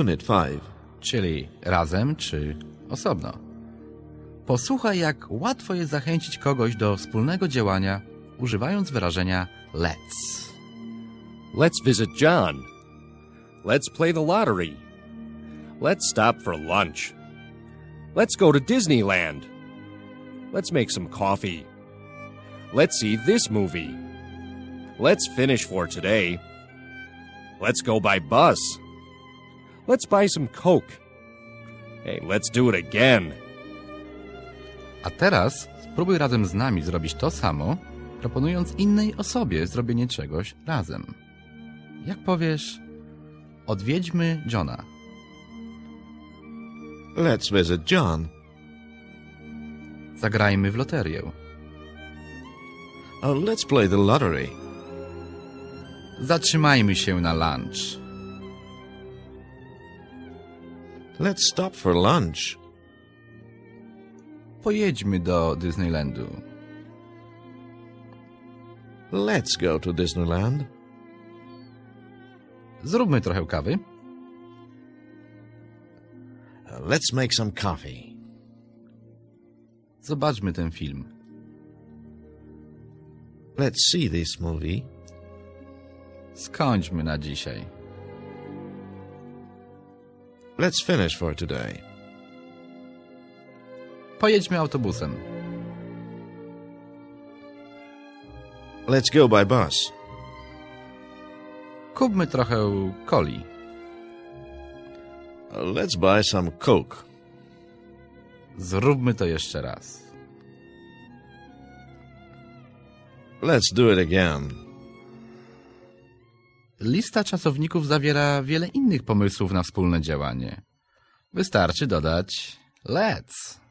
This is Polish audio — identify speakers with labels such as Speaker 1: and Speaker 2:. Speaker 1: Unit 5.
Speaker 2: czyli razem czy osobno. Posłuchaj, jak łatwo jest zachęcić kogoś do wspólnego działania, używając wyrażenia let's.
Speaker 3: Let's visit John. Let's play the lottery. Let's stop for lunch. Let's go to Disneyland. Let's make some coffee. Let's see this movie. Let's finish for today. Let's go by bus. Let's buy some Coke. Hey, let's do it again.
Speaker 2: A teraz spróbuj razem z nami zrobić to samo, proponując innej osobie zrobienie czegoś razem. Jak powiesz, odwiedźmy Johna.
Speaker 1: Let's visit John.
Speaker 2: Zagrajmy w loterię.
Speaker 1: Oh, let's play the lottery.
Speaker 2: Zatrzymajmy się na lunch.
Speaker 1: Let's stop for lunch.
Speaker 2: Pojedźmy do Disneylandu.
Speaker 1: Let's go to Disneyland.
Speaker 2: Zróbmy trochę kawy.
Speaker 1: Uh, Let's make some coffee.
Speaker 2: Zobaczmy ten film.
Speaker 1: Let's see this movie.
Speaker 2: Skończmy na dzisiaj.
Speaker 1: Let's finish for today.
Speaker 2: Pojedźmy autobusem.
Speaker 1: Let's go by bus.
Speaker 2: Kupmy trochę coli.
Speaker 1: Uh, Let's buy some Coke.
Speaker 2: Zróbmy to jeszcze raz.
Speaker 1: Let's do it again.
Speaker 2: Lista czasowników zawiera wiele innych pomysłów na wspólne działanie. Wystarczy dodać let's.